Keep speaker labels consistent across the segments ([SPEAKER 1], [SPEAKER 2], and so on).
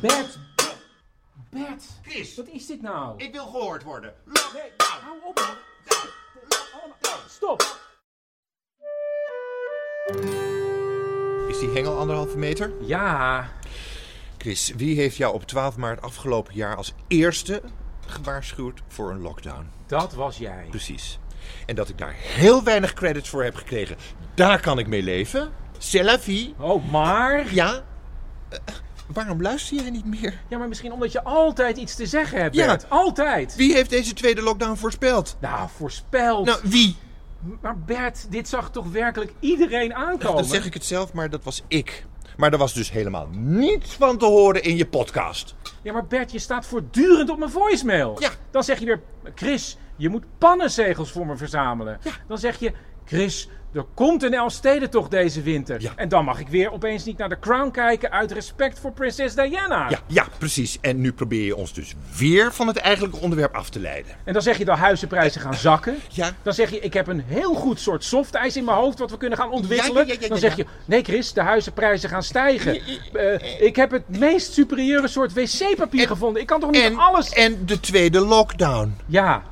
[SPEAKER 1] Bert! Bert! Wat is dit nou? Ik wil gehoord worden. Nee, hou op! Allemaal- Stop!
[SPEAKER 2] Is die hengel anderhalve meter?
[SPEAKER 1] Ja,
[SPEAKER 2] Chris, wie heeft jou op 12 maart afgelopen jaar als eerste gewaarschuwd voor een lockdown?
[SPEAKER 1] dat was jij.
[SPEAKER 2] Precies. En dat ik daar heel weinig credits voor heb gekregen, daar kan ik mee leven. C'est la vie.
[SPEAKER 1] Oh, maar?
[SPEAKER 2] Ja. Eh, waarom luister jij niet meer?
[SPEAKER 1] Ja, maar misschien omdat je altijd iets te zeggen hebt,
[SPEAKER 2] Ja.
[SPEAKER 1] Bert. Altijd!
[SPEAKER 2] Wie heeft deze tweede lockdown voorspeld?
[SPEAKER 1] Nou, voorspeld.
[SPEAKER 2] Nou, wie?
[SPEAKER 1] Maar Bert, dit zag toch werkelijk iedereen aankomen?
[SPEAKER 2] Dan zeg ik het zelf, maar dat was ik. Maar er was dus helemaal niets van te horen in je podcast.
[SPEAKER 1] Ja, maar Bert, je staat voortdurend op mijn voicemail.
[SPEAKER 2] Ja.
[SPEAKER 1] Dan zeg je weer, Chris, je moet pannenzegels voor me verzamelen. Dan zeg je, Chris, er komt een Elfstedentocht deze winter.
[SPEAKER 2] Ja.
[SPEAKER 1] En dan mag ik weer opeens niet naar de crown kijken uit respect voor prinses Diana.
[SPEAKER 2] Ja, ja, precies. En nu probeer je ons dus weer van het eigenlijke onderwerp af te leiden.
[SPEAKER 1] En dan zeg je dat huizenprijzen gaan zakken.
[SPEAKER 2] Ja.
[SPEAKER 1] Dan zeg je, ik heb een heel goed soort softijs in mijn hoofd wat we kunnen gaan ontwikkelen.
[SPEAKER 2] Ja, ja, ja, ja,
[SPEAKER 1] dan zeg
[SPEAKER 2] ja.
[SPEAKER 1] je, nee Chris, de huizenprijzen gaan stijgen. Eh, ik heb het meest superieure soort wc-papier gevonden. Ik kan toch niet
[SPEAKER 2] En,
[SPEAKER 1] alles...
[SPEAKER 2] en de tweede lockdown.
[SPEAKER 1] Ja,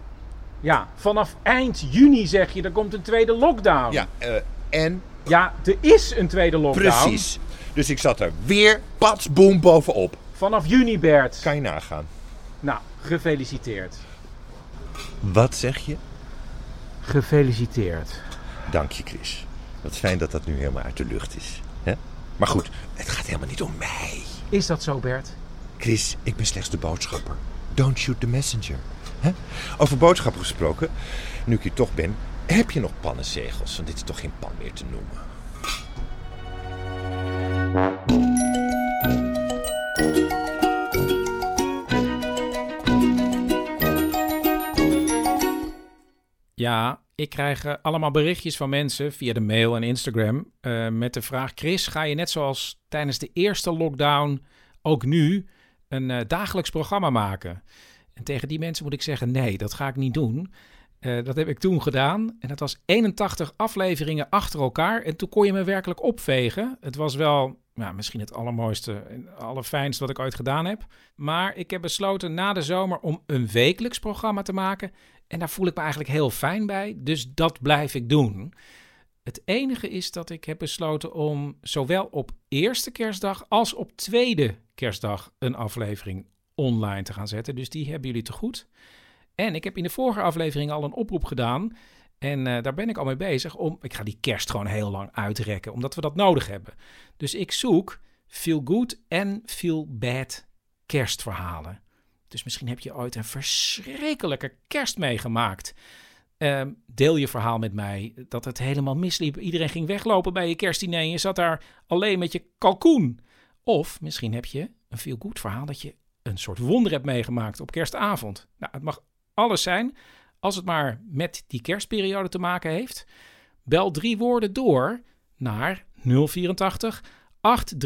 [SPEAKER 1] ja. Vanaf eind juni zeg je, er komt een tweede lockdown.
[SPEAKER 2] Ja, eh, en
[SPEAKER 1] Ja, er is een tweede lockdown.
[SPEAKER 2] precies. Dus ik zat er weer pats boem bovenop.
[SPEAKER 1] Vanaf juni, Bert.
[SPEAKER 2] Kan je nagaan.
[SPEAKER 1] Nou, gefeliciteerd.
[SPEAKER 2] Wat zeg je?
[SPEAKER 1] Gefeliciteerd.
[SPEAKER 2] Dank je, Chris. Wat fijn dat dat nu helemaal uit de lucht is. hè? Maar goed, het gaat helemaal niet om mij.
[SPEAKER 1] Is dat zo, Bert?
[SPEAKER 2] Chris, ik ben slechts de boodschapper. Don't shoot the messenger. hè? Over boodschappen gesproken, nu ik hier toch ben, heb je nog pannenzegels? Want dit is toch geen pan meer te noemen.
[SPEAKER 3] Ja, ik krijg eh, allemaal berichtjes van mensen via de mail en Instagram eh, met de vraag: Chris, ga je net zoals tijdens de eerste lockdown ook nu een eh, dagelijks programma maken? En tegen die mensen moet ik zeggen: nee, dat ga ik niet doen. Eh, dat heb ik toen gedaan en dat was 81 afleveringen achter elkaar. En toen kon je me werkelijk opvegen. Het was wel nou, misschien het allermooiste en allerfijnst wat ik ooit gedaan heb. Maar ik heb besloten na de zomer om een wekelijks programma te maken. En daar voel ik me eigenlijk heel fijn bij, dus dat blijf ik doen. Het enige is dat ik heb besloten om zowel op eerste kerstdag als op tweede kerstdag een aflevering online te gaan zetten. Dus die hebben jullie te goed. En ik heb in de vorige aflevering al een oproep gedaan. En eh, daar ben ik al mee bezig om. Ik ga die kerst gewoon heel lang uitrekken, omdat we dat nodig hebben. Dus ik zoek feel good en feel bad kerstverhalen. Dus misschien heb je ooit een verschrikkelijke kerst meegemaakt. Ehm, deel je verhaal met mij dat het helemaal misliep. Iedereen ging weglopen bij je kerstdiner en je zat daar alleen met je kalkoen. Of misschien heb je een feel good verhaal dat je een soort wonder hebt meegemaakt op kerstavond. Nou, het mag alles zijn als het maar met die kerstperiode te maken heeft. Bel drie woorden door naar 084 8371282.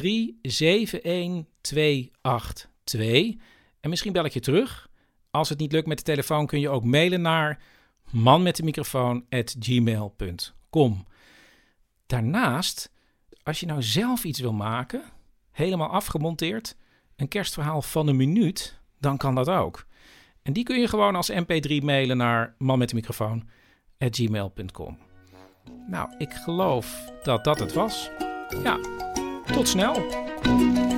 [SPEAKER 3] En misschien bel ik je terug. Als het niet lukt met de telefoon kun je ook mailen naar manmetdemicrofoon@gmail.com. Daarnaast, als je nou zelf iets wil maken, helemaal afgemonteerd, een kerstverhaal van een minuut, dan kan dat ook. En die kun je gewoon als mp3 mailen naar manmetdemicrofoon@gmail.com. Nou, ik geloof dat dat het was. Ja, tot snel.